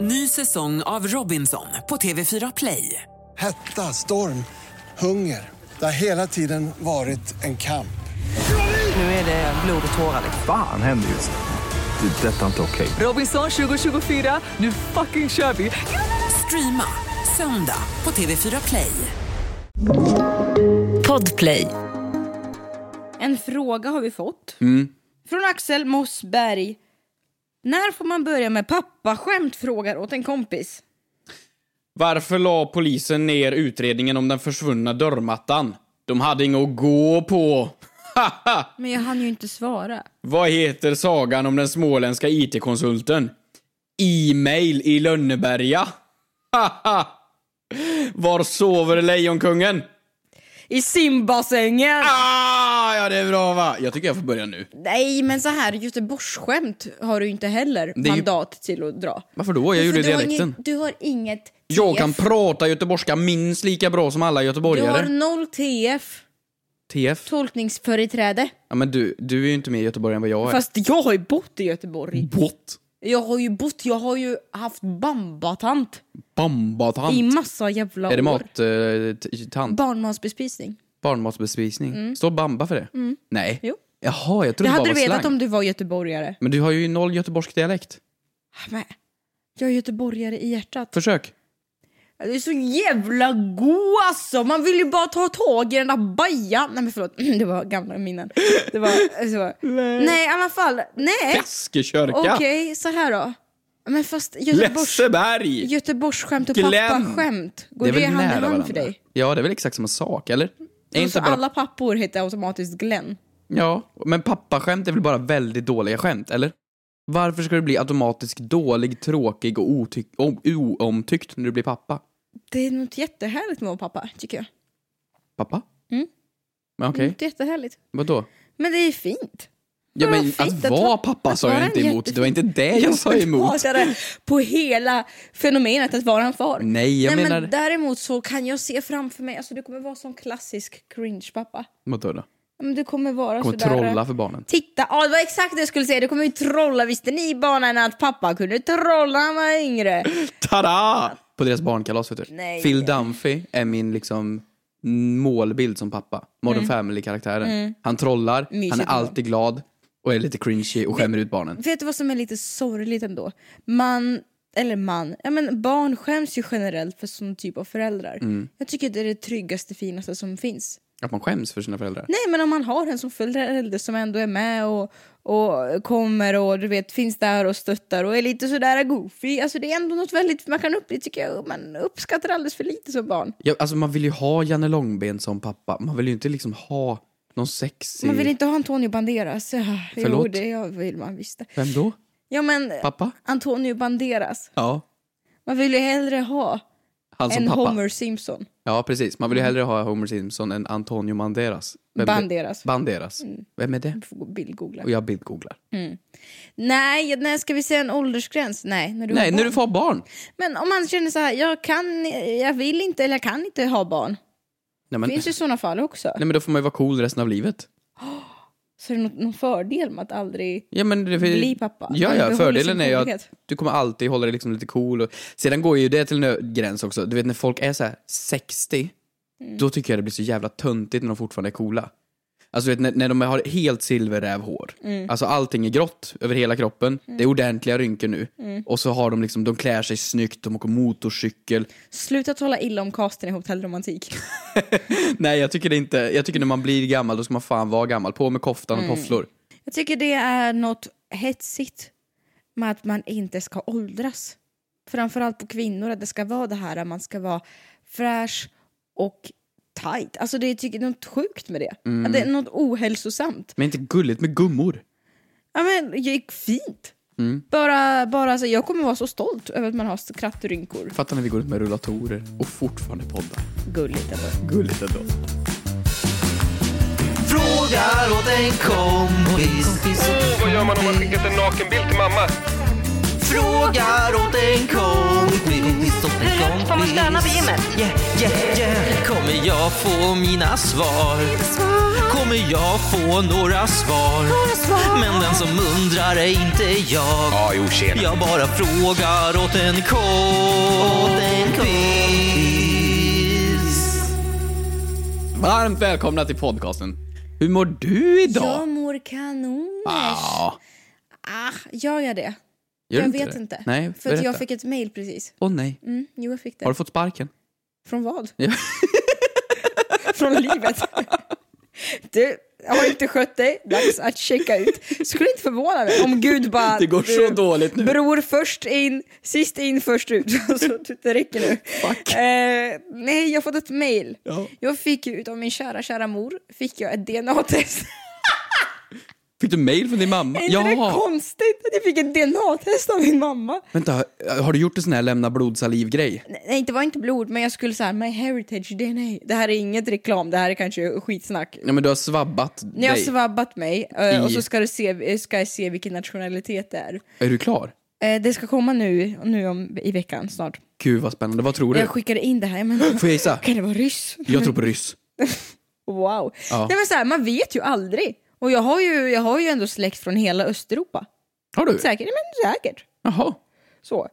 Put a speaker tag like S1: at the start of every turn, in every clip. S1: Ny säsong av Robinson på TV4 Play.
S2: Hetta, storm, hunger. Det har hela tiden varit en kamp.
S1: Nu är det blod och tårar. liksom.
S3: Fan händer just nu. Det. är Detta är inte okej.
S1: Robinson 2024, nu fucking kör vi! Streama söndag på TV4 Play.
S4: Podplay.
S5: En fråga har vi fått.
S6: Mm.
S5: Från Axel Mossberg. När får man börja med pappaskämt? Frågar åt en kompis.
S6: Varför la polisen ner utredningen om den försvunna dörrmattan? De hade inget att gå på. Haha!
S5: Men jag hann ju inte svara.
S6: Vad heter sagan om den småländska IT-konsulten? E-mail i Lönneberga. Haha! Var sover lejonkungen?
S5: I simbassängen!
S6: Ah, ja det är bra va? Jag tycker jag får börja nu.
S5: Nej men så här göteborgsskämt har du inte heller
S6: Det är ju-
S5: mandat till att dra.
S6: Varför då? Jag gjorde
S5: För Alltså, du har
S6: dialekten.
S5: inget- Du har inget TF.
S6: Jag kan prata göteborgska minst lika bra som alla
S5: Du har
S6: göteborgare.
S5: noll TF.
S6: TF?
S5: Tolkningsföreträde.
S6: Ja men du, du är ju inte mer göteborgare än vad jag är.
S5: Fast jag har ju bott i Göteborg.
S6: What?
S5: Jag har ju bott, jag har ju haft bambatant
S6: Bambatant.
S5: i massa jävla
S6: Är
S5: år.
S6: det mat, eh, t- tant?
S5: Barnmatsbespisning.
S6: Barnmatsbespisning? Står bamba för det? Nej?
S5: Mm. Jo.
S6: Jaha, jag
S5: Det
S6: trodde det bara
S5: hade
S6: var
S5: du vetat
S6: slang.
S5: om du var göteborgare.
S6: Men du har ju noll göteborgsk dialekt.
S5: Ah, Men, jag är göteborgare i hjärtat.
S6: Försök.
S5: Det är så jävla god alltså! Man vill ju bara ta tag i den där bajan. Nej men förlåt, det var gamla minnen. Det var, eh, så. Nej i alla fall, nej.
S6: Fiskekörka!
S5: Eh, Okej, så här då. Men fast Göteborgs,
S6: Lesseberg!
S5: Göteborgsskämt och
S6: Glenn.
S5: pappaskämt, går
S6: Det
S5: det,
S6: är väl
S5: hand i
S6: nära
S5: hand
S6: varandra?
S5: för dig?
S6: Ja, det är väl exakt samma sak, eller? Är
S5: Inte
S6: inte bara...
S5: Alla pappor heter automatiskt Glenn.
S6: Ja, men pappaskämt är väl bara väldigt dåliga skämt, eller? Varför ska du bli automatiskt dålig, tråkig och otyck... o- oomtyckt när du blir pappa?
S5: Det är något jättehärligt med att vara pappa, tycker jag.
S6: Pappa?
S5: Mm.
S6: Men okej,
S5: Något jättehärligt.
S6: vadå?
S5: Men det är fint.
S6: Ja,
S5: Vadå
S6: men
S5: fint?
S6: att
S5: Att
S6: vara
S5: vara-
S6: pappa
S5: att
S6: sa jag
S5: vara
S6: inte
S5: en
S6: emot. Det var inte det
S5: Jag
S6: jag sa emot.
S5: pratade på hela fenomenet att vara en far.
S6: Nej, jag
S5: Nej,
S6: menar...
S5: men däremot så kan jag se framför mig, alltså du kommer vara sån klassisk cringe-pappa.
S6: Vadå då?
S5: Ja, Men du kommer vara
S6: Kommer
S5: sådär... eh,
S6: trolla för barnen.
S5: Titta, ja det var exakt det jag skulle säga, du kommer ju trolla. Visste ni barnen att pappa kunde trolla när han var yngre?
S6: Tada! På deras barnkalas vet du.
S5: Nej.
S6: Phil Dunphy är min liksom målbild som pappa. Modern
S5: Mm.
S6: family-karaktären. Han trollar,
S5: Mysigt
S6: han är
S5: barn.
S6: alltid glad och är lite cringy och skämmer ut barnen.
S5: Vet du vad som är lite sorgligt ändå? Man, eller man, ja men barn skäms ju generellt för sån typ av föräldrar.
S6: Mm.
S5: Jag tycker det är det tryggaste, finaste som finns.
S6: Att man skäms för sina föräldrar.
S5: Nej men om man har en som förälder som ändå är med och, och kommer och du vet finns där och stöttar och är lite sådär goofy. Alltså det är ändå något väldigt, man kan upp, det tycker jag, man uppskattar alldeles för lite som barn.
S6: Ja, alltså man vill ju ha Janne Långben som pappa. Man vill ju inte liksom ha någon sexig...
S5: Man vill inte ha Antonio Banderas. Ah, Jo
S6: Förlåt?
S5: det jag vill man visst. det.
S6: Vem då?
S5: Ja men
S6: Pappa?
S5: Antonio Banderas.
S6: Ja.
S5: Man vill ju hellre ha
S6: Han som
S5: en
S6: Alltså, pappa.
S5: Homer Simpson.
S6: Ja, precis. Man vill
S5: Mm.
S6: ju hellre ha Homer Simpson än Antonio Banderas. Vem är-
S5: Banderas. Mm.
S6: Banderas. Vem är det?
S5: Du får gå- bildgoogla.
S6: Och jag bildgooglar.
S5: Nej, när ska vi säga en åldersgräns? Nej, när du har
S6: Nej, när
S5: barn.
S6: du får barn.
S5: Men om man känner så här, jag kan, jag vill inte eller jag kan inte ha barn.
S6: Nej, men,
S5: Det finns ju såna fall också.
S6: nej, men då får man ju vara cool resten av livet.
S5: Så är det någon, någon fördel med att aldrig...
S6: Ja, men det,
S5: Bli pappa.
S6: Ja, ja
S5: Behåll
S6: fördelen
S5: sin
S6: är ju att
S5: coolhet.
S6: du kommer alltid hålla dig liksom lite cool. Och, sedan går ju det till en ö- gräns också. Du vet när folk är så här 60,
S5: Mm.
S6: då tycker jag det blir så jävla töntigt när de fortfarande är coola. Alltså du vet, när, när de har helt silverrävhår.
S5: Mm.
S6: Alltså allting är grått över hela kroppen. Det är ordentliga rynkor nu.
S5: Mm.
S6: Och så har de liksom, de klär sig snyggt, de åker motorcykel.
S5: Sluta tala illa om casten i hotellromantik.
S6: Nej jag tycker det inte, jag tycker när man blir gammal då ska man fan vara gammal. På med koftan
S5: Mm.
S6: och tofflor.
S5: Jag tycker det är något hetsigt med att man inte ska åldras. Framförallt på kvinnor, att det ska vara det här att man ska vara fräsch och tight. Alltså det är tycker, jag, något sjukt med det. Att det är något ohälsosamt.
S6: Men inte gulligt med gummor.
S5: Ja men det gick fint. Bara, bara alltså, jag kommer vara så stolt över att man har så krattrynkor.
S6: Fattar när vi går ut med rullatorer och fortfarande poddar.
S5: Gulligt ändå.
S6: Gulligt ändå.
S7: Frågar åt en kompis.
S8: Vad gör man om man skickat en nakenbild till mamma?
S7: Frågar åt en kompis. Hur högt får man stöna på gymmet? Yeah, yeah, yeah. Kommer Kommer jag få mina svar? Kommer jag få några svar? Men den som undrar är inte jag.
S8: Ja, jo, tjena.
S7: Jag bara frågar åt en kompis.
S6: Varmt välkomna till podcasten. Hur mår du idag?
S5: Jag mår kanoners.
S6: Ah,
S5: Ah, gör jag det?
S6: gör
S5: jag
S6: du
S5: vet
S6: det?
S5: inte.
S6: Nej,
S5: För att jag
S6: berätta.
S5: fick ett mejl precis.
S6: Åh nej,
S5: Mm, jo, jag fick det.
S6: har du fått sparken?
S5: Från vad?
S6: Ja.
S5: Från livet. Du har inte skött dig, dags att checka ut. Skulle inte förvåna mig om Gud bara...
S6: Det går så
S5: du,
S6: dåligt nu.
S5: Bror först in, sist in först ut. Så det räcker nu. Eh, nej, jag har fått ett mail. Jag fick ju utav min kära, kära mor, fick jag ett DNA-test.
S6: Fick du mail från din mamma?
S5: Är inte det konstigt att jag fick ett DNA-test av min mamma?
S6: Vänta, har du gjort en sån här lämna blodsalivgrej?
S5: Nej, det var inte blod, men jag skulle säga my heritage DNA. Det här är inget reklam, det här är kanske skitsnack.
S6: Ja men du har svabbat
S5: När jag har
S6: dig.
S5: svabbat mig eh,
S6: I-
S5: och så ska, du se, eh, ska jag se vilken nationalitet det är.
S6: Är du klar?
S5: Eh, Det ska komma nu, nu om, i veckan snart.
S6: Gud vad spännande, vad tror du?
S5: Jag skickade in det här, men
S6: Eh. Får jag gissa?
S5: kan det vara ryss?
S6: Jag tror på ryss.
S5: Wow.
S6: Ja.
S5: Nej, men så här, man vet ju aldrig. Och jag har ju, jag har ju ändå släkt från hela Östeuropa.
S6: Har du?
S5: Säkert, men säkert.
S6: Jaha.
S5: Så.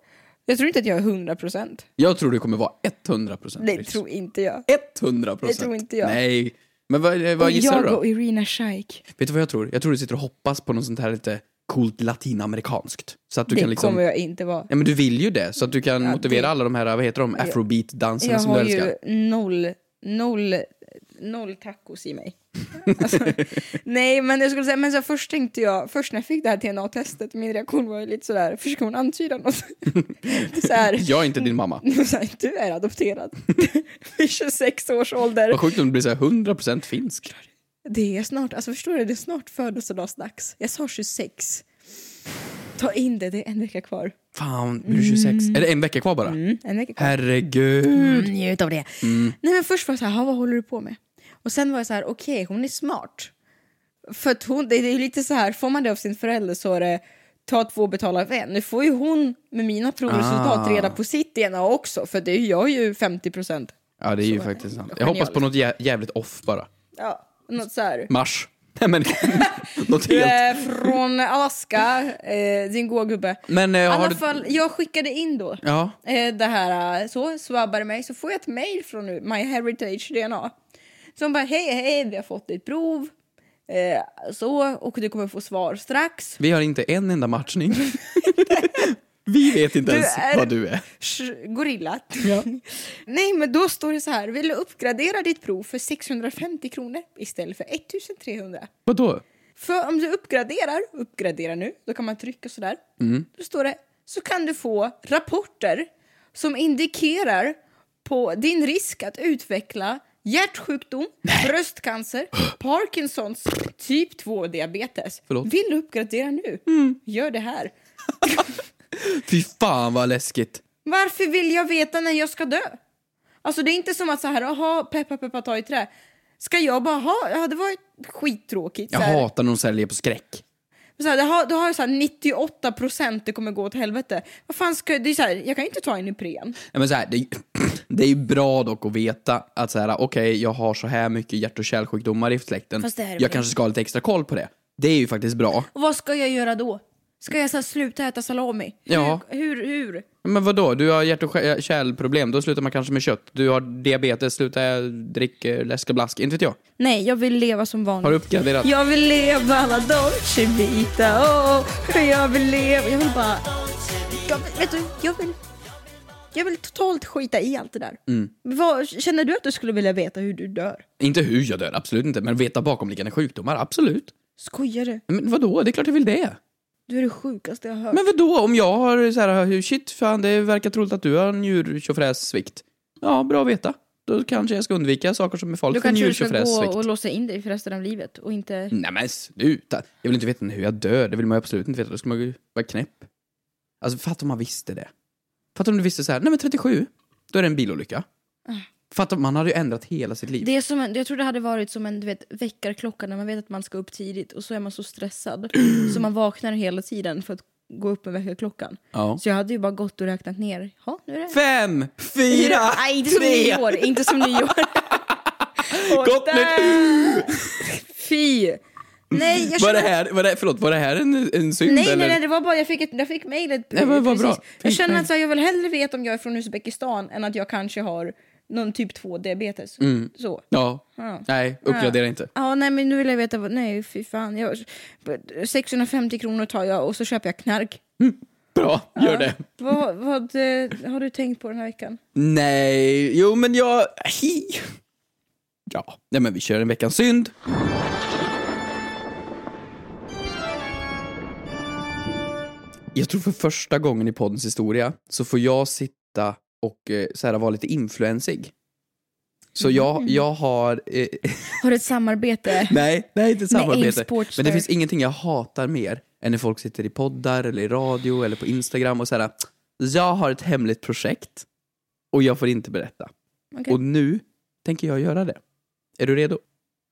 S5: Jag tror inte att jag är 100 procent.
S6: Jag tror du kommer vara 100%
S5: Det
S6: ryss.
S5: tror inte jag.
S6: 100%?
S5: Det tror inte jag.
S6: Nej. Men vad, vad
S5: Och
S6: gissar
S5: jag
S6: du då?
S5: och Irina Shayk.
S6: Vet du vad jag tror? Jag tror du sitter och hoppas på något sånt här lite coolt latinamerikanskt. Så att du
S5: Det
S6: kan liksom...
S5: kommer jag inte vara.
S6: Ja men du vill ju det, så att du kan
S5: Ja,
S6: motivera
S5: det-
S6: alla de här, vad heter de, afrobeat-danserna
S5: Jag
S6: som du
S5: har
S6: älskar.
S5: ju noll, noll, noll tacos i mig. Alltså, nej, men jag skulle säga, men så först tänkte jag, först när jag fick det här DNA-testet, min reaktion var ju lite sådär, försöker hon antyda något? så här,
S6: Jag är inte din mamma.
S5: så här, du är adopterad vid 26 års ålder.
S6: Vad sjukt om du blir såhär 100% finsk.
S5: Det är snart, alltså förstår du, det är snart födelsedagsdags. Jag sa 26. Ta in det, det är en vecka kvar.
S6: Fan, blir du 26? Är det en vecka kvar bara?
S5: Mm, en vecka kvar.
S6: Herregud.
S5: Mm, njut av det. Nej men först var jag så här, "Ha, vad håller du på med? Och sen var jag så här, okej hon är smart. För att hon, det det är ju lite så här, får man det av sin förälder så är det ta två betala av en. Nu får ju hon med mina provresultat
S6: Ah.
S5: reda på sitt DNA också för det är, jag är ju 50 procent.
S6: Ja det är ju
S5: Så,
S6: faktiskt sant. Jag
S5: genial.
S6: hoppas på något
S5: liksom.
S6: jä- jävligt off bara.
S5: Ja, något så här.
S6: Mars. Nej men, något
S5: Du
S6: helt.
S5: är Eh, från Alaska, eh, din goa gubbe.
S6: Men eh,
S5: I
S6: har
S5: alla
S6: du...
S5: fall, jag skickade in då
S6: Ja.
S5: eh, det här, eh, så svabbade mig, så får jag ett mejl från nu, My Heritage DNA. Som bara, hej, hej, vi har fått ditt prov. Eh, så, och du kommer få svar strax.
S6: Vi har inte en enda matchning. Vi vet inte
S5: Du
S6: ens
S5: är-
S6: vad du är.
S5: Sh, gorilla. Nej, men då står det så här, vill du uppgradera ditt prov för 650 kronor istället för 1300?
S6: Vadå?
S5: För om du uppgraderar, uppgradera nu, då kan man trycka sådär. Då står det, så kan du få rapporter som indikerar på din risk att utveckla hjärtsjukdom, bröstcancer, Parkinsons, typ 2-diabetes.
S6: Förlåt?
S5: Vill du uppgradera nu? Gör det här.
S6: Fy fan vad läskigt.
S5: Varför vill jag veta när jag ska dö? Alltså det är inte som att så här, aha, peppa peppa ta i trä. Ska jag bara ha? Ja, det var skittråkigt.
S6: Jag
S5: så här.
S6: hatar när de säljer på skräck.
S5: Så här, det har, då har jag så här 98 procent det kommer gå åt helvete. Vad fan ska det är så här, jag kan ju inte ta en Ipren.
S6: Nej, men så här, det, är ju- det är ju bra dock att veta att så här, okej, jag har så här mycket hjärt och kärlsjukdomar i släkten.
S5: Fast det här är
S6: jag
S5: bra.
S6: kanske ska ha lite extra koll på det. Det är ju faktiskt bra.
S5: Och vad ska jag göra då? Ska jag så här, sluta äta salami?
S6: Ja.
S5: Hur, hur, hur?
S6: Men vadå, du har hjärt och skär- kärlproblem, då slutar man kanske med kött. Du har diabetes, sluta dricka läsk och blask. Inte vet jag.
S5: Nej, jag vill leva som vanligt.
S6: Har du uppgraderat?
S5: Jag vill leva alla Dolce Vita, oh, för jag vill leva. Jag vill bara... Jag, vill- vet du, jag vill... Jag vill totalt skita i allt det där.
S6: Mm.
S5: Vad, känner du att du skulle vilja veta hur du dör?
S6: Inte hur jag dör, absolut inte. Men veta bakomliggande sjukdomar, absolut.
S5: Skojar du?
S6: Men vadå, det är klart jag vill det.
S5: Du är det sjukaste jag har hört.
S6: Men vadå, om jag har så här, shit fan det verkar troligt att du har en njurtjofrässvikt. Ja, bra att veta. Då kanske jag ska undvika saker som är farliga
S5: Då
S6: för
S5: kanske du ska
S6: njurtjofrässvikt.
S5: gå och låsa in dig för resten av livet och inte...
S6: Nej men sluta! Jag vill inte veta hur jag dör, det vill man ju absolut inte veta. Då skulle man ju vara knäpp. Alltså fatta om man visste det. Fatta om du visste så här, nej men 37, då är det en bilolycka. Fatta, man hade ju ändrat hela sitt liv.
S5: Mm. Det är som en, jag tror det hade varit som en du vet, väckarklocka när man vet att man ska upp tidigt och så är man så stressad så man vaknar hela tiden för att gå upp med väckarklockan.
S6: Ja.
S5: Så jag hade ju bara gått och räknat ner. Ja, nu är det...
S6: Fem, fyra,
S5: Nej, inte som
S6: tre!
S5: nyår. Inte som nyår.
S6: Gott
S5: nytt! Fy! Nej, jag
S6: Var det
S5: känner...
S6: här, var det, förlåt, var det här en, en synd
S5: Nej,
S6: eller?
S5: nej, nej, det var bara jag fick, ett, jag fick mejlet.
S6: Nej, men vad bra.
S5: precis. Jag
S6: Fint,
S5: känner
S6: nej.
S5: att så här, jag vill hellre veta om jag är från Uzbekistan än att jag kanske har någon typ 2-diabetes. Så.
S6: Ja.
S5: Ja.
S6: Nej, Mm. uppgradera
S5: Ja.
S6: inte.
S5: Ja, nej men nu vill jag veta vad, nej fy fan. Jag, 650 kronor tar jag och så köper jag knark.
S6: Bra, gör det.
S5: Vad, vad eh, har du tänkt på den här veckan?
S6: Nej, jo men jag... Hi. Ja, nej men vi kör en veckans synd. Jag tror för första gången i poddens historia så får jag sitta och eh, så här, vara lite influensig. Så jag, jag har... Eh,
S5: Har du ett samarbete?
S6: nej, nej inte samarbete.
S5: Aimsportster.
S6: Men det finns ingenting jag hatar mer än när folk sitter i poddar eller i radio eller på Instagram och så här. Jag har ett hemligt projekt och jag får inte berätta.
S5: Okej.
S6: Och nu tänker jag göra det. Är du redo?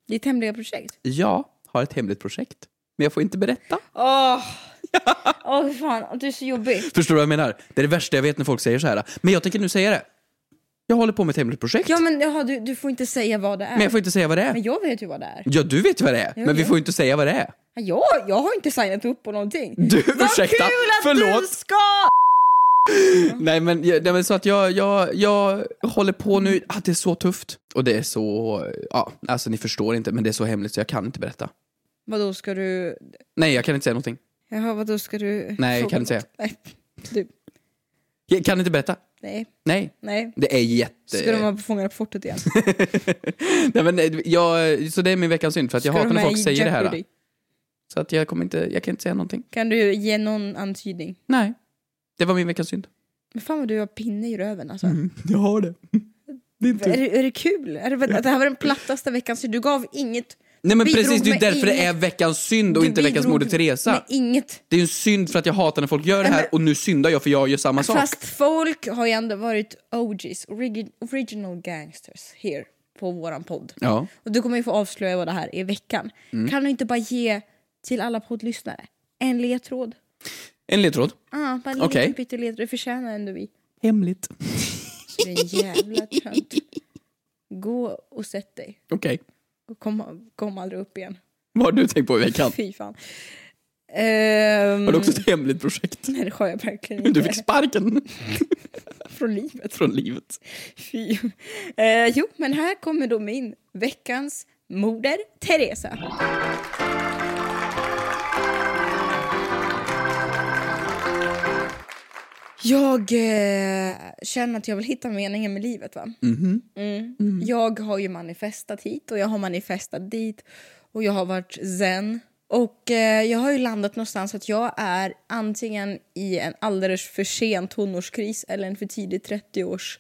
S5: Ditt hemliga projekt?
S6: Jag har ett hemligt projekt, men jag får inte berätta.
S5: Åh! Åh fy fan, du är så jobbig.
S6: Förstår du vad jag menar? Det är det värsta jag vet när folk säger så här. Men jag tänker nu säga det. Jag håller på med ett hemligt projekt,
S5: Ja men jaha, du, du får inte säga vad det är.
S6: men jag får inte säga vad det är.
S5: Men jag vet ju vad det är.
S6: Ja, du vet ju vad det är, men vi
S5: ja.
S6: får ju inte säga vad det är.
S5: Jag, jag har inte signat upp på någonting.
S6: Du,
S5: vad
S6: ursäkta,
S5: kul att du
S6: förlåt.
S5: ska!
S6: Nej men, jag- nej men så att jag, jag, jag håller på
S5: Mm.
S6: nu, ah, det är så tufft. Och det är så, ja alltså ni förstår inte men det är så hemligt så jag kan inte berätta.
S5: Vadå ska du...
S6: Nej jag kan inte säga någonting.
S5: Jaha vadå ska du...
S6: Nej,
S5: fråga
S6: kan inte
S5: något?
S6: säga.
S5: Nej, du,
S6: Jag kan inte berätta.
S5: nej,
S6: Nej.
S5: nej.
S6: Det är jätte...
S5: Ska de vara på Fångarna på fortet igen?
S6: nej, men, nej, jag, så det är min veckans synd för att jag
S5: Ska
S6: hatar
S5: de
S6: när
S5: med
S6: folk
S5: i
S6: säger det här.
S5: Jeopardy?
S6: Så att jag kommer inte, jag kan inte säga någonting.
S5: Kan du ge någon antydning?
S6: Nej. Det var min veckans synd.
S5: Men fan vad du har pinne i röven alltså.
S6: Jag har det. Din
S5: Är, det, är det kul? Är det, det här var den plattaste veckan, så du gav inget.
S6: Nej men
S5: Bidrog
S6: precis, det är ju
S5: med
S6: därför det är
S5: inget.
S6: veckans synd och
S5: Du
S6: inte veckans
S5: bidrog
S6: Moder Teresa.
S5: Med inget.
S6: Det är ju en synd för att jag hatar när folk gör det
S5: Nej,
S6: här
S5: men-
S6: och nu syndar jag för jag gör samma sak.
S5: Fast folk har ju ändå varit OGs, origi- original gangsters, här på våran podd.
S6: Ja.
S5: Och du kommer ju få avslöja vad det här är i veckan.
S6: Mm.
S5: Kan du inte bara ge till alla poddlyssnare en ledtråd?
S6: En ledtråd.
S5: Ah, bara en
S6: Okej.
S5: liten pytteledtråd, det förtjänar ändå vi.
S6: Hemligt.
S5: Du är en jävla tönt. Gå och sätt dig
S6: Okej.
S5: och kom, kom aldrig upp igen.
S6: Vad har du tänkt på i veckan?
S5: Fy fan. Ehm,
S6: Har du också ett hemligt projekt?
S5: Nej, det har jag verkligen inte.
S6: Du fick sparken
S5: Från livet.
S6: från livet.
S5: Fy. Eh, jo, men här kommer då min veckans moder Teresa. Jag eh, känner att jag vill hitta meningen med livet. va? Mm. Jag har ju manifestat hit och jag har manifestat dit och jag har varit zen. Och eh, jag har ju landat någonstans att jag är antingen i en alldeles för sen tonårskris eller en för tidig 30-års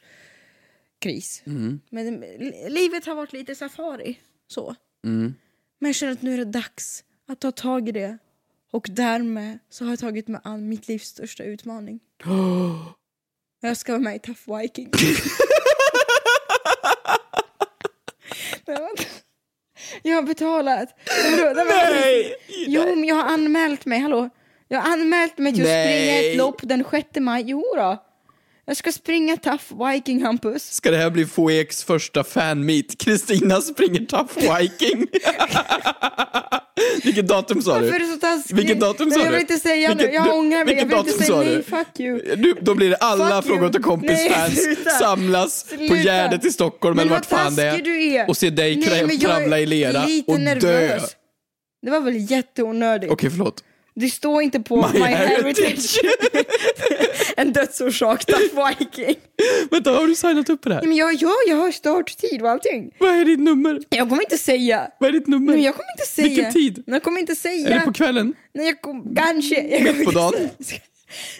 S5: kris. Men li- livet har varit lite safari. Så. Mm. Men jag känner att nu är det dags att ta tag i det. Och därmed så har jag tagit mig an mitt livs största utmaning. Jag ska vara med i Tough Viking. Nej, vänta. jag har betalat. Nej, men då- nej, men- Jo, men jag har anmält mig. Hallå? Jag har anmält mig till att springa
S6: Nej.
S5: ett lopp den 6 maj. Jo då. Jag ska springa Tough Viking, Hampus.
S6: Ska det här bli FOEX första fanmeet? Kristina springer Tough Viking. Vilket datum sa
S5: Varför är
S6: du?
S5: du så taskig?
S6: Vilket datum
S5: Nej,
S6: sa
S5: Jag vill
S6: du?
S5: inte säga
S6: Vilket-
S5: nu. Jag
S6: du-
S5: ångrar mig. Jag
S6: vilket
S5: vill inte
S6: datum
S5: säga
S6: sa
S5: nej.
S6: du?
S5: Fuck you.
S6: Du, då blir det alla
S5: Fuck you.
S6: Fråga till
S5: Nej,
S6: kompis-fans
S5: sluta.
S6: samlas på
S5: Sluta.
S6: Gärdet i Stockholm
S5: Men
S6: eller
S5: vad
S6: vart fan det
S5: taskig du är.
S6: och se dig
S5: Nej,
S6: kra-
S5: men jag är
S6: kravla i lera
S5: lite
S6: och dö.
S5: nervös. Det var väl jätteonödigt.
S6: Okej, förlåt.
S5: Det står inte på My,
S6: My
S5: heritage.
S6: heritage.
S5: en dödsorsak, Tough Viking.
S6: Vänta, har du signat upp på det här?
S5: Nej, men jag, jag, jag har starttid och allting.
S6: Vad är ditt nummer?
S5: Jag kommer inte säga.
S6: Vad är ditt nummer?
S5: Nej, men jag kommer inte säga.
S6: Vilken tid?
S5: Nej, Jag kommer inte säga.
S6: Är det på kvällen?
S5: Nej, jag kom, kanske. Jag kommer
S6: på
S5: inte
S6: dagen?
S5: säga.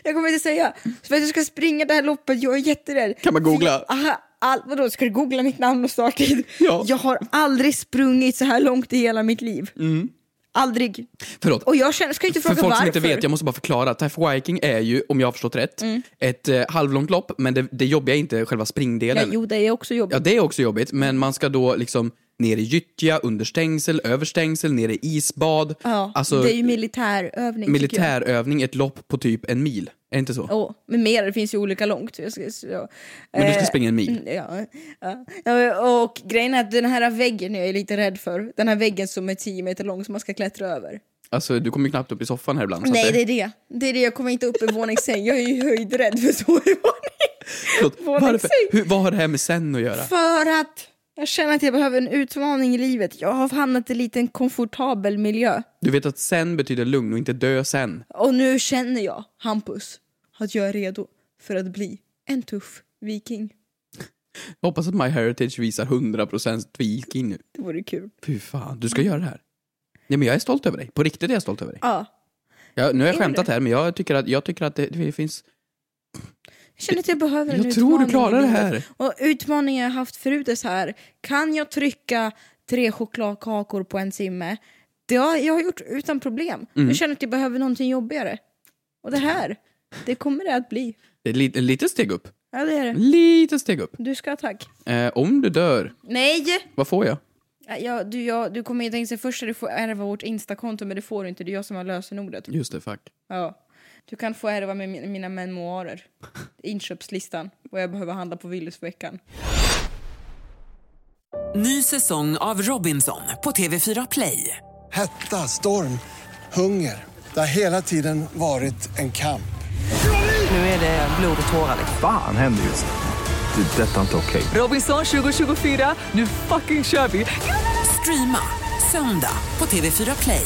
S5: Jag kommer inte säga. För att jag ska springa det här loppet, jag är jätterädd.
S6: Kan man googla?
S5: För jag- aha, all, vadå, ska du googla mitt namn och starttid?
S6: Ja.
S5: Jag har aldrig sprungit så här långt i hela mitt liv. Aldrig.
S6: Förlåt.
S5: Och jag känner, ska inte
S6: Mm. För
S5: fråga
S6: folk som
S5: varför. Mm.
S6: inte vet, jag måste bara förklara. Taff Viking är ju, om jag har förstått rätt, ett eh, halvlångt lopp, men det, det jobbiga är inte själva
S5: ja,
S6: springdelen. Ja,
S5: jo, det är också jobbigt.
S6: det är också jobbigt, men man ska då liksom ner i gyttja, under stängsel, över stängsel, ner i isbad.
S5: Ja,
S6: alltså
S5: det är ju militärövning. tycker jag.
S6: militärövning, ett lopp på typ en mil. Är det inte så?
S5: Ja, men mer, det finns ju olika långt. Jag ska, så,
S6: Men du
S5: eh,
S6: ska springa en mil.
S5: mm, Ja, ja. ja, och grejen är att den här väggen jag är lite rädd för, den här väggen som är 10 meter lång som man ska klättra över.
S6: Alltså du kommer ju knappt upp i soffan här ibland. så
S5: Nej,
S6: att
S5: det är det. Det är det, jag kommer inte upp i våningssäng. Jag är ju höjdrädd för så i våning.
S6: Förlåt, varför,
S5: våningssäng.
S6: hur, vad har det här med sen att göra?
S5: För att jag känner att jag behöver en utmaning i livet. Jag har hamnat i en liten komfortabel miljö.
S6: Du vet att sen betyder lugn och inte dö sen.
S5: Och nu känner jag, Hampus, att jag är redo för att bli en tuff viking.
S6: Jag hoppas att My Heritage visar 100% viking nu.
S5: Det vore kul.
S6: Fy fan, du ska göra det här. Nej men jag är stolt över dig. På riktigt är jag stolt över dig.
S5: Ja.
S6: Jag, nu har jag
S5: Är du
S6: skämtat
S5: det?
S6: här men jag tycker att, jag tycker att det, det finns...
S5: Jag känner att jag behöver en
S6: Jag tror du
S5: utmaning
S6: klarar
S5: i
S6: det
S5: livet.
S6: här.
S5: Och utmaningen jag haft förut är så här, kan jag trycka tre chokladkakor på en timme? Det har jag har gjort utan problem. Jag känner att jag behöver någonting jobbigare. Och det här, det kommer det att bli.
S6: Det är lite, lite steg upp.
S5: Ja, det är det.
S6: Lite steg upp.
S5: Du ska ha tack.
S6: Eh, om du dör,
S5: Nej!
S6: vad får jag?
S5: Ja, du, jag, du kommer ju tänka sig först att du får ärva vårt instakonto, men det får du inte. Det är jag som har lösenordet.
S6: Just det, fuck.
S5: Ja. Du kan få ärva med min- mina memoarer. Inköpslistan. Vad jag behöver handla på Willys för veckan.
S1: Ny säsong av Robinson på TV4 Play.
S2: Hetta, storm, hunger. Det har hela tiden varit en kamp.
S1: Nu är det blod och tårar.
S3: Fan händer just det. Det är detta inte okej.
S1: Robinson 2024, nu fucking kör vi! Streama söndag på TV4 Play.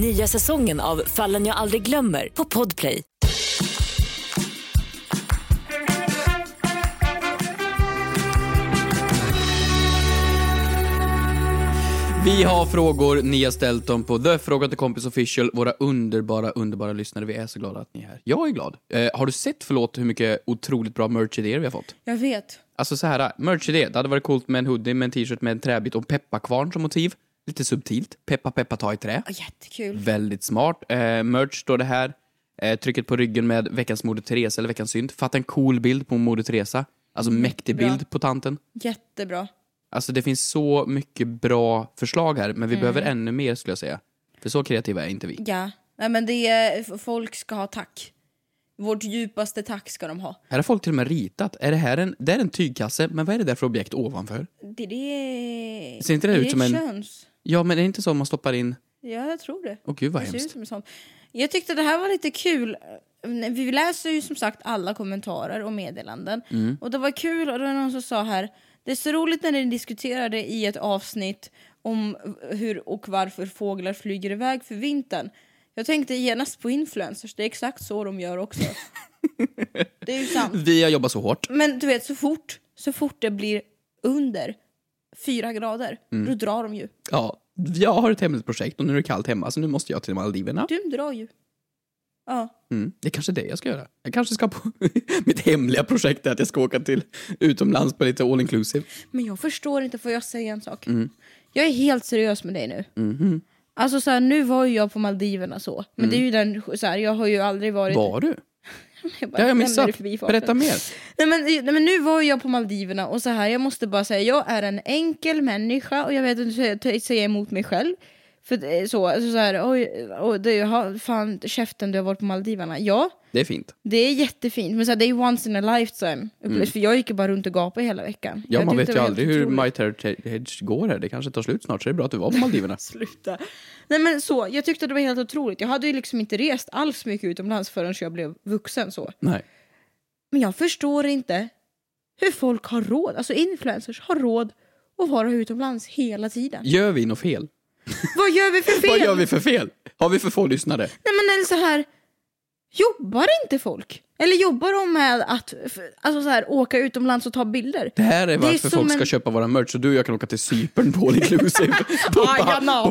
S4: Nya säsongen av Fallen jag aldrig glömmer på Podplay.
S6: Vi har frågor, ni har ställt dem på The Fråga till Kompis Official, våra underbara, underbara lyssnare. Vi är så glada att ni är här. Jag är glad. Eh, har du sett, förlåt, hur mycket otroligt bra merch-idéer vi har fått?
S5: Jag vet.
S6: Alltså så här, merch-idé. Det hade varit coolt med en hoodie, med en t-shirt, med en träbit och en pepparkvarn som motiv. Lite subtilt. Peppa, peppa, ta i trä.
S5: Jättekul.
S6: Väldigt smart. Eh, merch står det här. Eh, trycket på ryggen med veckans Moder Teresa eller veckans synd. Fatta en cool bild på Moder Teresa. Alltså mäktig
S5: Bra.
S6: bild på tanten.
S5: Jättebra.
S6: Alltså det finns så mycket bra förslag här, men vi behöver ännu mer skulle jag säga. För så kreativa är inte vi.
S5: Ja. Nej, men det är, folk ska ha tack. Vårt djupaste tack ska de ha.
S6: Här har folk till och med ritat. Är det här en, det är en tygkasse, men vad är det där för objekt ovanför?
S5: Det, det,
S6: Ser inte det
S5: är
S6: ut som en-
S5: köns?
S6: Ja, men är det inte så man stoppar in...
S5: Ja, jag tror det.
S6: Åh gud vad
S5: det ser ut
S6: hemskt.
S5: som en sån. Jag tyckte det här var lite kul. Vi läser ju som sagt alla kommentarer och meddelanden.
S6: Mm.
S5: Och det var kul, och det var någon som sa här, det är så roligt när ni diskuterade i ett avsnitt om hur och varför fåglar flyger iväg för vintern. Jag tänkte genast på influencers, det är exakt så de gör också. det är ju sant.
S6: Vi har jobbat så hårt.
S5: Men du vet, så fort, så fort det blir under fyra grader,
S6: Mm.
S5: då drar de ju.
S6: Ja, jag har ett hemligt projekt och nu är det kallt hemma så nu måste jag till Maldiverna.
S5: Du drar ju. Ja.
S6: Mm, det är kanske det jag ska göra. Jag kanske ska på... Mitt hemliga projekt är att jag ska åka till utomlands på lite all inclusive.
S5: Men jag förstår inte, får jag säga en sak?
S6: Mm.
S5: Jag är helt seriös med dig nu.
S6: Mm-hmm.
S5: Alltså så här, nu var ju jag på Maldiverna så, men det är ju den, så här, jag har ju aldrig varit...
S6: Mm. Var du?
S5: Jag bara
S6: Det har jag
S5: nämner
S6: missat.
S5: det förbi farten.
S6: Berätta mer.
S5: Nej men, nej men nu var ju jag på Maldiverna och så här, jag måste bara säga, jag är en enkel människa och jag vet inte hur jag t- säga emot mig själv. För det är så, alltså så här, oj, oj, det, har, fan käften du har varit på Maldiverna. Ja,
S6: Det är fint.
S5: det är jättefint, men så här, det är once in a lifetime upplevelse. För jag gick ju bara runt och gapade hela veckan.
S6: Mm. Ja,
S5: Jag
S6: man
S5: tyckte det
S6: vet ju
S5: var
S6: aldrig
S5: helt
S6: hur
S5: otroligt.
S6: My Heritage går här. Det kanske tar slut snart, så det är bra att du var på Maldiverna.
S5: Sluta. Nej men så, jag tyckte det var helt otroligt. Jag hade ju liksom inte rest alls mycket utomlands förrän jag blev vuxen så.
S6: Nej.
S5: Men jag förstår inte hur folk har råd, alltså influencers har råd att vara utomlands hela tiden.
S6: Gör vi något fel?
S5: Vad gör vi för fel?
S6: Vad gör vi för fel? Har vi för få lyssnare?
S5: Nej men eller så här, Jobbar inte folk? Eller jobbar de med att f- alltså så här, åka utomlands och ta bilder?
S6: Det här är varför
S5: som
S6: folk ska
S5: en-
S6: köpa våra merch, så du och jag kan åka till Cypern på all inclusive. på,
S5: Ah,
S6: ba-
S5: genau.
S6: på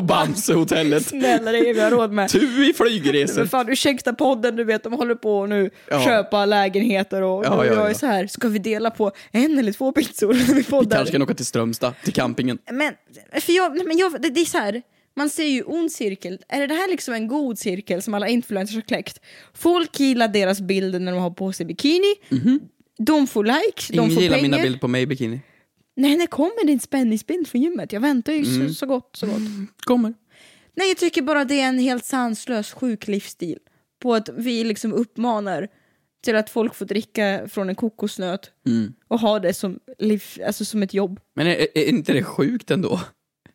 S6: Bamsehotellet.
S5: Snälla dig, vi har råd med.
S6: Du i
S5: Men
S6: flygresor.
S5: fan, ursäkta podden, du vet, de håller på nu
S6: Ja.
S5: köpa lägenheter och,
S6: Ja,
S5: och
S6: ja,
S5: jag är
S6: ja.
S5: så här, ska vi dela på en eller två pizzor när vi
S6: Vi
S5: poddar?
S6: kanske kan åka till Strömstad, till campingen.
S5: Men, för jag, nej, men jag, det, det är så här, man ser ju ond cirkel. Är det här liksom en god cirkel som alla influencers har kläckt? Folk gillar deras bilder när de har på sig bikini. De får likes, de
S6: Mhm. Ingen
S5: får
S6: gillar
S5: pengar.
S6: mina bilder på mig i bikini.
S5: Nej, när kommer din spänningsbild från gymmet? Jag väntar ju
S6: Mm.
S5: så, så gott, så gott.
S6: Kommer.
S5: Nej, jag tycker bara det är en helt sanslös sjuk livsstil. På att vi liksom uppmanar till att folk får dricka från en kokosnöt
S6: Mm.
S5: och ha det som, liv, alltså som ett jobb.
S6: Men är, är inte det sjukt ändå?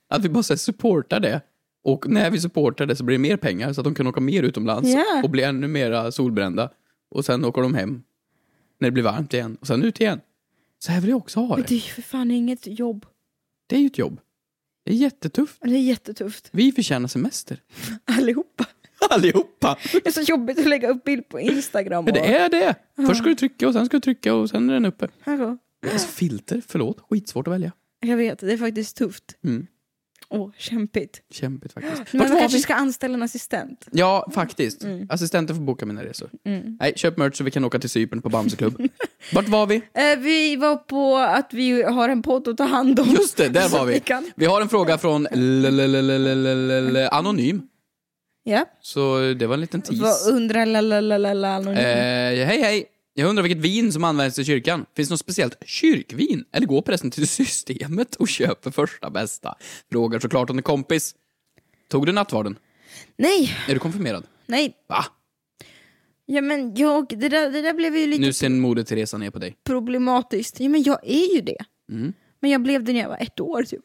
S6: Att vi bara så här, supportar det. Och när vi supportar det så blir det mer pengar så att de kan åka mer utomlands
S5: Ja.
S6: och bli ännu mera solbrända. Och sen åker de hem när det blir varmt igen och sen ut igen. Så här vill jag också ha
S5: Men det är
S6: det.
S5: ju för fan inget jobb.
S6: Det är ju ett jobb. Det är jättetufft.
S5: Det är jättetufft.
S6: Vi förtjänar semester.
S5: Allihopa.
S6: Allihopa!
S5: Det är så jobbigt att lägga upp bild på Instagram. Och...
S6: Men det är det! Först ska du trycka och sen ska du trycka och sen är den uppe.
S5: Alltså,
S6: Alltså filter, förlåt. Skitsvårt att välja.
S5: jag vet, det är faktiskt tufft.
S6: Mm.
S5: Åh, kämpigt.
S6: Kämpigt faktiskt.
S5: Men
S6: Vart
S5: man
S6: var
S5: kanske
S6: vi?
S5: ska Mm. anställa en assistent.
S6: Ja, faktiskt. Assistenter får boka mina resor.
S5: Mm.
S6: Nej, köp merch så vi kan åka till Cypern på Bamseklubb. Vart var vi?
S5: Eh, vi var på att vi har en podd att ta hand om.
S6: Just det, där
S5: Så
S6: var vi.
S5: kan-
S6: Vi har en fråga från LLLLLLL Anonym.
S5: Ja.
S6: Så det var en liten
S5: Vad
S6: tease.
S5: undrar lalalala
S6: Eh,
S5: anonym.
S6: hej hej! Jag undrar vilket vin som används i kyrkan. Finns det något speciellt kyrkvin? Eller går prästen till systemet och köper första bästa? Frågar såklart om en kompis. Tog du nattvarden?
S5: Nej,
S6: Är du konfirmerad?
S5: nej.
S6: Va?
S5: Ja, men jag, det, där, det där blev ju lite
S6: Nu ser moder Teresa ner på dig.
S5: problematiskt. Ja, men jag är ju det.
S6: Mm.
S5: Men jag blev det när jag var ett år typ.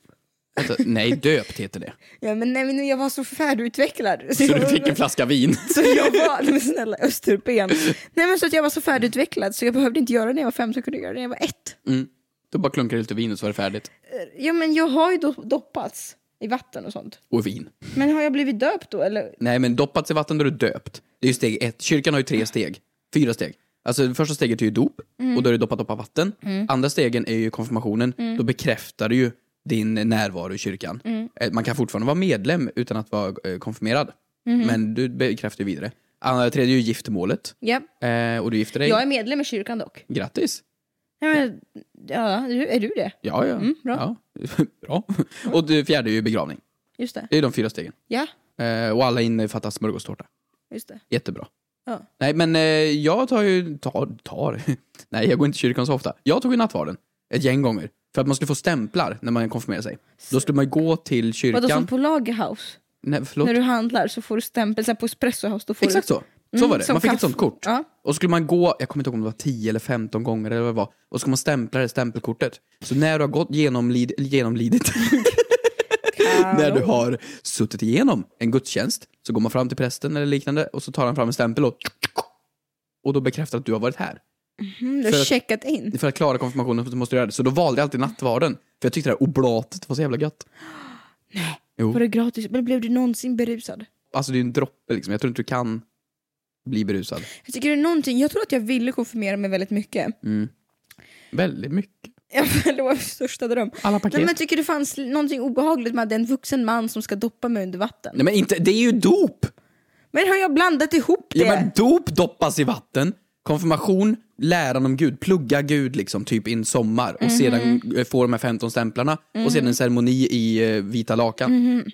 S6: Vänta, nej, döpt heter det.
S5: Ja, men, nej, men jag var så färdigutvecklad. Så,
S6: Så
S5: jag,
S6: du fick en flaska vin.
S5: så jag var, nej, men snälla östeuropén. Nej men så att jag var så färdigutvecklad så jag behövde inte göra det när jag var fem så jag kunde göra det när jag var ett.
S6: Mm. Då bara klunkade du lite vin och så var det färdigt.
S5: Ja men jag har ju do- doppats i vatten och sånt.
S6: Och vin.
S5: Men har jag blivit döpt då eller?
S6: Nej, men doppats i vatten då är du döpt. Det är ju steg ett. Kyrkan har ju tre steg. Fyra steg. Alltså det första steget är ju dop
S5: Mm.
S6: och då är det doppa, doppa vatten. Andra stegen är ju konfirmationen. Då bekräftar du ju din närvaro i kyrkan.
S5: Mm.
S6: Eh, Man kan fortfarande vara medlem utan att vara eh, konfirmerad.
S5: Mm-hmm.
S6: Men du bekräftar ju vidare. Andra, tredje är ju giftermålet.
S5: Ja.
S6: Eh, och du gifter dig.
S5: Jag är medlem i kyrkan dock.
S6: Grattis!
S5: Ja, men, ja, är du- är du det?
S6: Ja, ja.
S5: Mm, bra.
S6: Ja. bra. Och det fjärde är ju begravning.
S5: Just det.
S6: Det är de fyra stegen.
S5: Ja,
S6: Eh, och alla innefattar smörgåstårta.
S5: just det.
S6: Jättebra.
S5: Ja.
S6: Nej, men eh, jag tar ju... Tar, tar? Nej, jag går inte i kyrkan så ofta. Jag tog ju nattvarden ett gäng gånger. För att man skulle få stämplar när man konfirmerar sig. Då skulle man ju gå till
S5: Vadå
S6: kyrkan...
S5: som på Lagerhaus?
S6: Nej, förlåt.
S5: När du handlar så får du stämpel, så här på Espresso House då får
S6: Exakt
S5: du...
S6: så. Så
S5: Mm,
S6: var det.
S5: som
S6: Man fick ett
S5: kaff-
S6: sånt kort.
S5: Ja.
S6: Och skulle man gå, jag kommer inte ihåg om det var 10 eller 15 gånger eller vad det var. Och så ska man stämpla det stämpelkortet. Så när du har gått genomlid, genomlidit, när du har suttit igenom en gudstjänst, så går man fram till prästen eller liknande och så tar han fram en stämpel och och då bekräftar att du har varit här.
S5: Mm, du
S6: För
S5: har
S6: att-
S5: checkat in.
S6: För att klara konfirmationen så måste du göra det. Så då valde jag alltid nattvarden. För jag tyckte det här oblatet var så jävla gött.
S5: Var det gratis? Men blev du någonsin berusad?
S6: Alltså det är ju en droppe liksom. Jag tror inte du kan bli berusad.
S5: Jag tycker det är någonting, jag tror att jag ville konfirmera mig väldigt mycket.
S6: Väldigt mycket.
S5: Ja, men det var min största dröm.
S6: Alla paket.
S5: Nej, men jag tycker det fanns någonting obehagligt med att det är en vuxen man som ska doppa mig under vatten.
S6: Nej men inte, det är ju dop!
S5: Men har jag blandat ihop det?
S6: Ja, men dop doppas i vatten, konfirmation, läran om Gud, plugga Gud liksom typ in sommar
S5: Mhm.
S6: och sedan eh, få de här 15 stämplarna och sedan en ceremoni i eh, vita lakan.
S5: Mhm.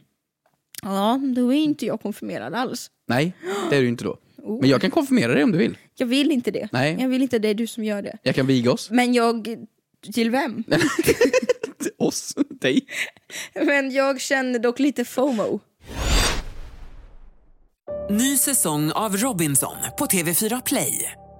S5: Ja, då är inte jag konfirmerad alls.
S6: Nej, det är du ju inte då.
S5: Oh.
S6: Men jag kan konfirmera dig om du vill.
S5: Jag vill inte det.
S6: Nej.
S5: Jag vill inte det, det är du som gör det.
S6: Jag kan viga oss.
S5: Men jag... Till vem?
S6: oss? Dig?
S5: men jag känner dock lite FOMO.
S1: Ny säsong av Robinson på TV4 Play.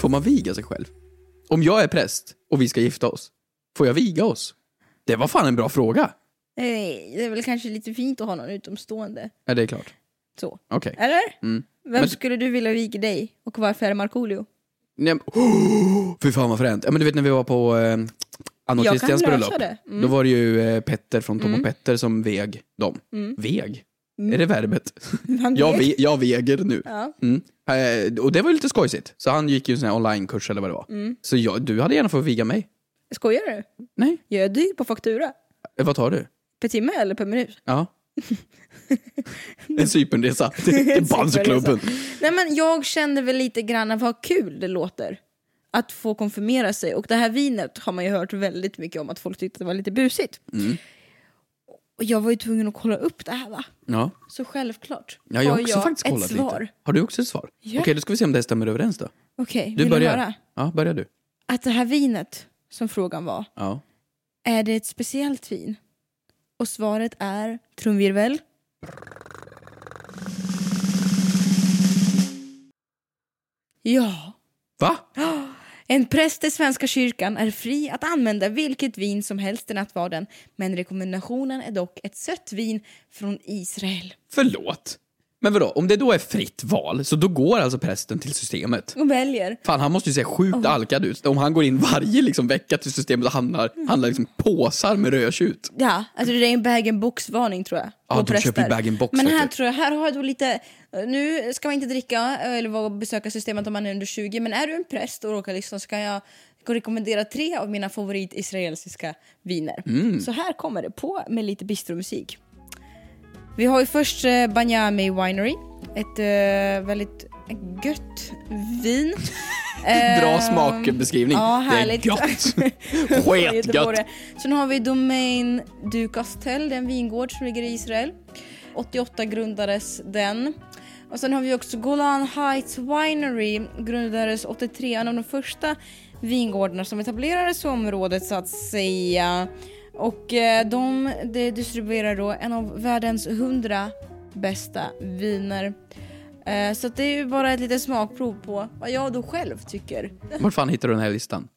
S6: Får man viga sig själv? Om jag är präst och vi ska gifta oss, får jag viga oss? Det var fan en bra fråga.
S5: Nej, det är väl kanske lite fint att ha någon utomstående.
S6: Ja, det är klart.
S5: Så.
S6: Okej.
S5: Eller?
S6: Mm.
S5: Vem
S6: Men-
S5: skulle du vilja viga dig? Och varför är det Markoolio?
S6: Nej, men- oh, fy fan vad fränt. Ja, men du vet när vi var på eh, Anna och
S5: Jag kan
S6: Christians
S5: lösa
S6: bröllop.
S5: det. Mm.
S6: Då var det ju eh, Petter från Tom och Petter som veg dem.
S5: mm.
S6: Veg? Är det verbet?
S5: Han
S6: Jag,
S5: vek.
S6: ve- jag veger nu.
S5: Ja.
S6: Mm. Eh, och det var ju lite skojsigt. Så han gick ju en sån här onlinekurs eller vad det var. Så jag, du hade gärna fått viga mig.
S5: mm. Skojar du?
S6: Nej,
S5: Jag är dyr på faktura.
S6: eh, vad tar du?
S5: Per timme eller per minut?
S6: Ja. en Cypernresa till Bamseklubben.
S5: Nej men jag kände väl lite grann vad kul det låter. Att få konfirmera sig. Och det här vinet har man ju hört väldigt mycket om att folk tyckte att det var lite busigt.
S6: Mm.
S5: Och jag var ju tvungen att kolla upp det här va.
S6: Ja.
S5: Så självklart
S6: Ja, jag har
S5: har
S6: också
S5: jag
S6: faktiskt
S5: ett
S6: kollat
S5: svar.
S6: lite. Har du också ett svar?
S5: Ja.
S6: Okej, då ska vi se om det stämmer överens då.
S5: Okej,
S6: Du
S5: vill
S6: börjar.
S5: du höra?
S6: Ja, börjar du.
S5: Att det här vinet som frågan var,
S6: Ja.
S5: är det ett speciellt vin? Och svaret är trumvirvel. Ja.
S6: Va?
S5: En präst i Svenska kyrkan är fri att använda vilket vin som helst i nattvarden men rekommendationen är dock ett sött vin från Israel.
S6: Förlåt? Men vadå, om det då är fritt val, så då går alltså prästen till systemet?
S5: Och väljer.
S6: Fan, han måste ju se sjukt alkad ut. Om han går in varje liksom, vecka till systemet och handlar,
S5: Mm.
S6: handlar liksom påsar med rödtjut.
S5: Ja, alltså det är en bag-in-box-varning tror jag.
S6: Ja,
S5: på
S6: de köper ju bag-in-box,
S5: Men
S6: vet
S5: här
S6: du.
S5: tror jag, här har jag då lite, nu ska man inte dricka eller vara- besöka systemet om man är under 20, men är du en präst och råkar lyssna så kan jag rekommendera tre av mina favorit-israeliska viner.
S6: Mm.
S5: Så här kommer det, på med lite bistromusik. Vi har ju först eh, Banyami Winery, ett eh, väldigt gött vin.
S6: Bra
S5: Ehm,
S6: smakbeskrivning.
S5: Ja,
S6: det är
S5: härligt.
S6: gött.
S5: från Göteborg.
S6: Sketgött.
S5: Sen har vi Domain du Castel, det är en vingård som ligger i Israel. 88 grundades den. Och sen har vi också Golan Heights Winery, grundades 83, en av de första vingårdarna som etablerades i området så att säga. Och eh, de, de distribuerar då en av världens 100 bästa viner. Eh, Så att det är ju bara ett litet smakprov på vad jag då själv tycker
S6: Var fan hittar du den här listan?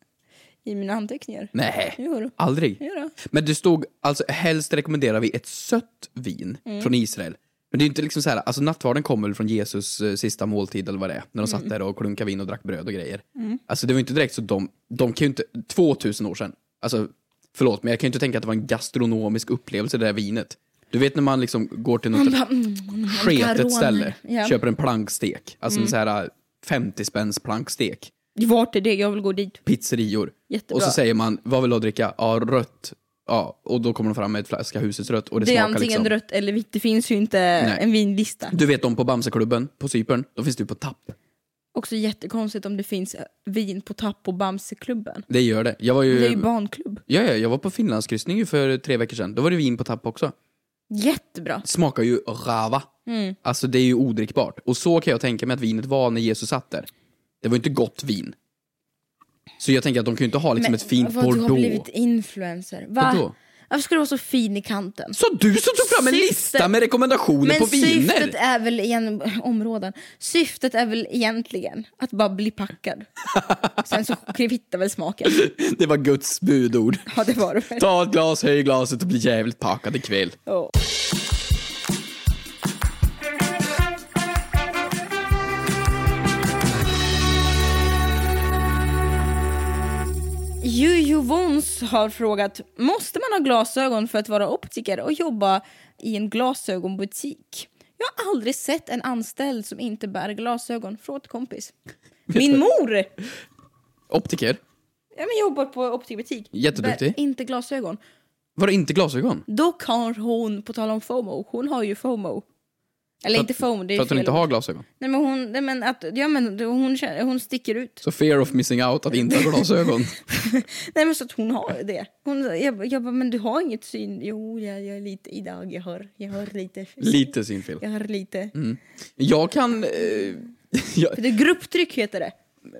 S5: i mina anteckningar.
S6: Nej,
S5: Jo då.
S6: aldrig.
S5: Jo då.
S6: Men det stod alltså helst rekommenderar vi ett sött vin från Israel. Men det är ju inte liksom så här, alltså nattvarden kommer väl från Jesus eh, sista måltid eller vad det är. När de satt där och klunkade vin och drack bröd och grejer. Alltså det var ju inte direkt så de, de kan ju inte, 2000 år sedan. Alltså förlåt men jag kan ju inte tänka att det var en gastronomisk upplevelse det där vinet. Du vet när man liksom går till något
S5: Garroner.
S6: sketet ställe,
S5: Ja.
S6: köper en plankstek. Alltså en så här eh, 50 spänns plankstek
S5: Vart är det? Jag vill gå dit.
S6: pizzerior.
S5: Jättebra.
S6: Och så säger man, vad vill du ha att dricka? Ja, rött. Ja, och då kommer de fram med ett flaska husets rött och det,
S5: Det, är
S6: smakar
S5: antingen
S6: liksom.
S5: rött eller vitt, det finns ju inte en vinlista.
S6: Du vet de på Bamseklubben på Cypern, då finns du på tapp.
S5: Också jättekonstigt om det finns eh, vin på tapp på Bamseklubben.
S6: Det gör det. Jag var ju...
S5: Det är ju barnklubb.
S6: ja, ja, jag var på Finlandskryssning ju för tre veckor sedan. Då var det vin på tapp också.
S5: Jättebra.
S6: Smakar ju rava.
S5: Mm.
S6: Alltså det är ju odrickbart. Och så kan jag tänka mig att vinet var när Jesus satt där. Det var ju inte gott vin. Så jag tänker att de kan ju inte ha liksom ett fint
S5: vad du har blivit
S6: bordeaux.
S5: influencer.
S6: Vadå?
S5: Va? Varför ska du vara så fin i kanten?
S6: Så du som tog fram en
S5: Syftet-
S6: lista med rekommendationer
S5: Men
S6: på viner!
S5: syftet är väl igen, områden. Syftet är väl egentligen att bara bli packad. Sen så kvittar väl smaken.
S6: Det var Guds budord.
S5: Ja det var det väl.
S6: Ta ett glas, höj glaset och bli jävligt packad ikväll.
S5: Ja. Juju Vons har frågat, måste man ha glasögon för att vara optiker och jobba i en glasögonbutik? Jag har aldrig sett en anställd som inte bär glasögon. Fråga kompis. Min mor!
S6: Optiker?
S5: Ja, men jobbar på optikbutik.
S6: Jätteduktig.
S5: Bär inte glasögon.
S6: Var det inte glasögon?
S5: Dock har hon, på tal om FOMO, hon har ju FOMO. Eller
S6: För
S5: inte
S6: att-
S5: foam, det är
S6: För att hon
S5: fel
S6: inte
S5: ord.
S6: har glasögon.
S5: Nej men hon, nej, men att, ja men det- hon, känner- hon sticker ut.
S6: Så fear of missing out att inte ha glasögon.
S5: Nej men så att hon har det. Hon, jag, jag bara, men du har inget syn. Jo, jag, jag är lite idag, jag hör, jag hör lite.
S6: Lite Mm. synfel.
S5: Jag hör lite.
S6: Jag kan... Eh, jag,
S5: För det är grupptryck heter det.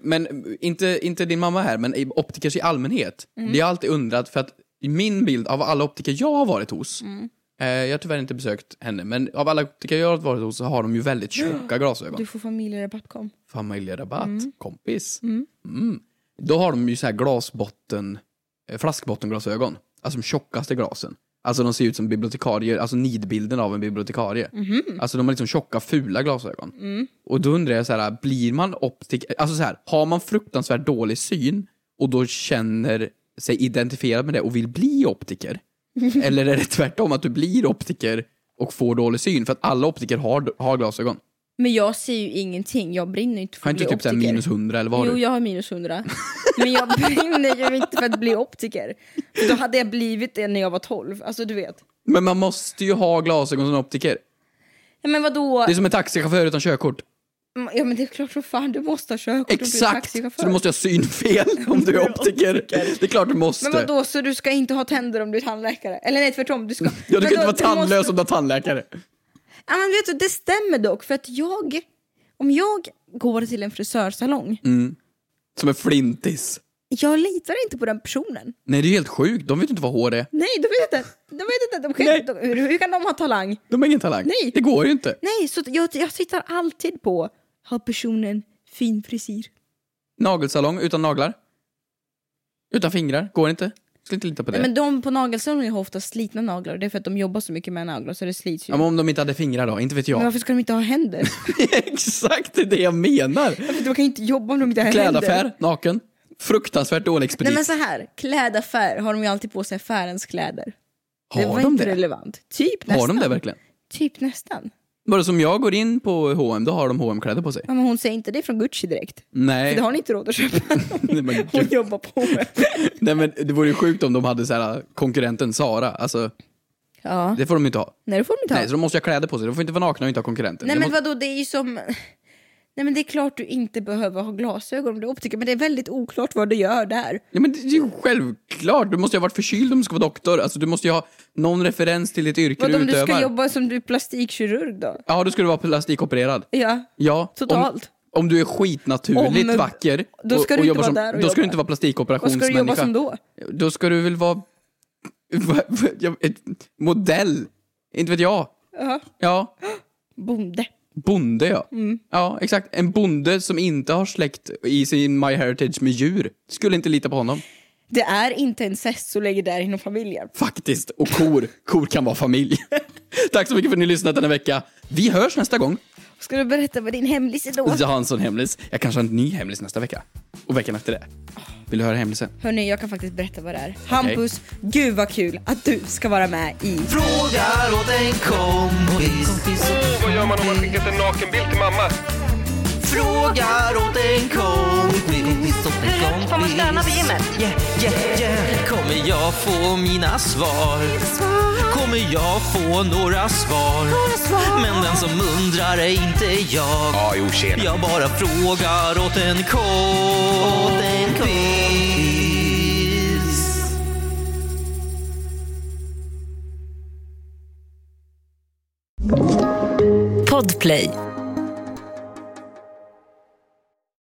S6: men inte, inte din mamma här, men i- optikers i allmänhet.
S5: Mm.
S6: Det har jag alltid undrat, för att i min bild av alla optiker jag har varit hos,
S5: Mm.
S6: eh, jag har tyvärr inte besökt henne, men av alla optiker jag har varit hos så har de ju väldigt tjocka glasögon.
S5: Du får familjerabatt kom.
S6: Familjerabatt, kompis. Mm. Då har de ju så här glasbotten, eh, flaskbottenglasögon. Alltså de tjockaste glasen. Alltså de ser ut som bibliotekarier, alltså nidbilden av en bibliotekarie. Alltså de har liksom tjocka fula glasögon. Och då undrar jag så här, blir man optik, alltså så här, har man fruktansvärt dålig syn och då känner sig identifierad med det och vill bli optiker? Eller är det tvärtom att du blir optiker och får dålig syn? För att alla optiker har, har glasögon.
S5: Men jag ser ju ingenting, jag brinner ju inte för
S6: Har
S5: att
S6: inte
S5: bli
S6: typ så här
S5: optiker.
S6: minus 100 eller vad har
S5: Jo,
S6: du?
S5: jag har minus 100. Men jag brinner ju inte för att bli optiker. För Då hade jag blivit det när jag var 12. Alltså du vet.
S6: Men man måste ju ha glasögon som optiker.
S5: Ja, men vadå?
S6: Det är som en taxichaufför utan körkort.
S5: Mm, Ja men det är klart som fan du måste ha körkort och bli
S6: Exakt! Så
S5: taxichaufför.
S6: du måste ha synfel om du är optiker. Det är klart du måste.
S5: Men vadå, så du ska inte ha tänder om du är tandläkare? Eller nej tvärtom, du ska...
S6: Ja, du
S5: Men
S6: kan inte
S5: då-
S6: vara tandlös
S5: måste-
S6: om du har tandläkare.
S5: Ja men vet du, det stämmer dock för att jag... Om jag går till en frisörsalong,
S6: Mm. Som en flintis.
S5: jag litar inte på den personen.
S6: Nej, det är helt sjukt. De vet inte vad hår är.
S5: Nej, de vet inte. De vet inte. De kan,
S6: Nej.
S5: de, hur, hur kan de ha talang?
S6: De har ingen talang.
S5: Nej.
S6: Det går ju inte.
S5: Nej, så att jag, jag tittar alltid på, har personen fin frisyr?
S6: Nagelsalong utan naglar. Utan fingrar. Går inte. Skulle inte lita på det.
S5: Nej, men de på nagelsalongen har ofta slitna naglar och det är för att de jobbar så mycket med naglar så det slits ju.
S6: Ja, men om de inte hade fingrar då? Inte vet
S5: Men
S6: jag.
S5: varför ska de inte ha händer?
S6: Exakt, det är det jag menar.
S5: de kan ju inte jobba om de inte har händer.
S6: Klädaffär, naken. Fruktansvärt dålig
S5: Nej
S6: expedit.
S5: men så här, klädaffär har de ju alltid på sig affärens kläder. det var
S6: har de
S5: inte
S6: det?
S5: relevant. Typ nästan.
S6: Har de det verkligen?
S5: Typ nästan.
S6: Bara som jag går in på H&M då har de hm kläder på sig.
S5: Ja, men hon säger inte det från Gucci direkt.
S6: Nej.
S5: För det har ni inte råd att köpa.
S6: Nej, men
S5: Hon
S6: gud.
S5: jobbar på med.
S6: Nej men det vore ju sjukt om de hade så här äh, konkurrenten Sara. Alltså,
S5: Ja,
S6: det får de ju inte ha.
S5: nej det får de inte ha.
S6: Nej, så de måste ju ha kläder på sig. De får inte vara nakna och inte ha konkurrenter.
S5: Nej
S6: De
S5: men
S6: måste...
S5: vadå, det är ju som... Nej men det är klart du inte behöver ha glasögon om du är optiker, men det är väldigt oklart vad du gör där.
S6: ja, men det är ju självklart. Du måste ju ha varit förkyld om du ska vara doktor. Alltså, du måste ju ha någon referens till ditt yrke
S5: Vadå
S6: du
S5: om du
S6: utövar.
S5: ska jobba som du är plastikkirurg då?
S6: Ja, då ska du vara plastikopererad.
S5: Ja,
S6: Ja,
S5: Totalt.
S6: Om, om du är skitnaturligt
S5: Om-
S6: vacker
S5: då ska du inte vara
S6: som,
S5: där och
S6: då ska du
S5: jobba.
S6: inte vara
S5: vad ska du
S6: plastikoperationsmänniska.
S5: jobba som då?
S6: Då ska du väl vara... Va- va- ja, ett modell? Inte vet jag.
S5: Ja.
S6: Ja,
S5: Bonde.
S6: bonde ja. Ja, exakt. En bonde som inte har släkt i sin My Heritage med djur. Skulle inte lita på honom.
S5: Det är inte incest så länge det är inom familjen.
S6: Faktiskt. Och kor. Kor kan vara familj. Tack så mycket för att ni har lyssnat denna vecka. Vi hörs nästa gång.
S5: Ska du berätta vad din hemlis är då?
S6: Jag har en sån hemlis. Jag kanske har en ny hemlis nästa vecka. Och veckan efter det. Vill du höra hemlisen?
S5: Hörni, jag kan faktiskt berätta vad det är. Hampus, gud vad kul att du ska vara med i...
S7: Frågar åt en kompis.
S8: Åh, vad gör man om man skickat en nakenbild till mamma?
S7: Frågar åt en kompis. Hur får man stöna på gymmet? Yeah, yeah, yeah. Kommer jag få mina svar? Kommer jag få några svar? Men den som undrar är inte jag.
S8: Ja, jo, tjena.
S7: Jag bara frågar åt en kompis.
S4: Podplay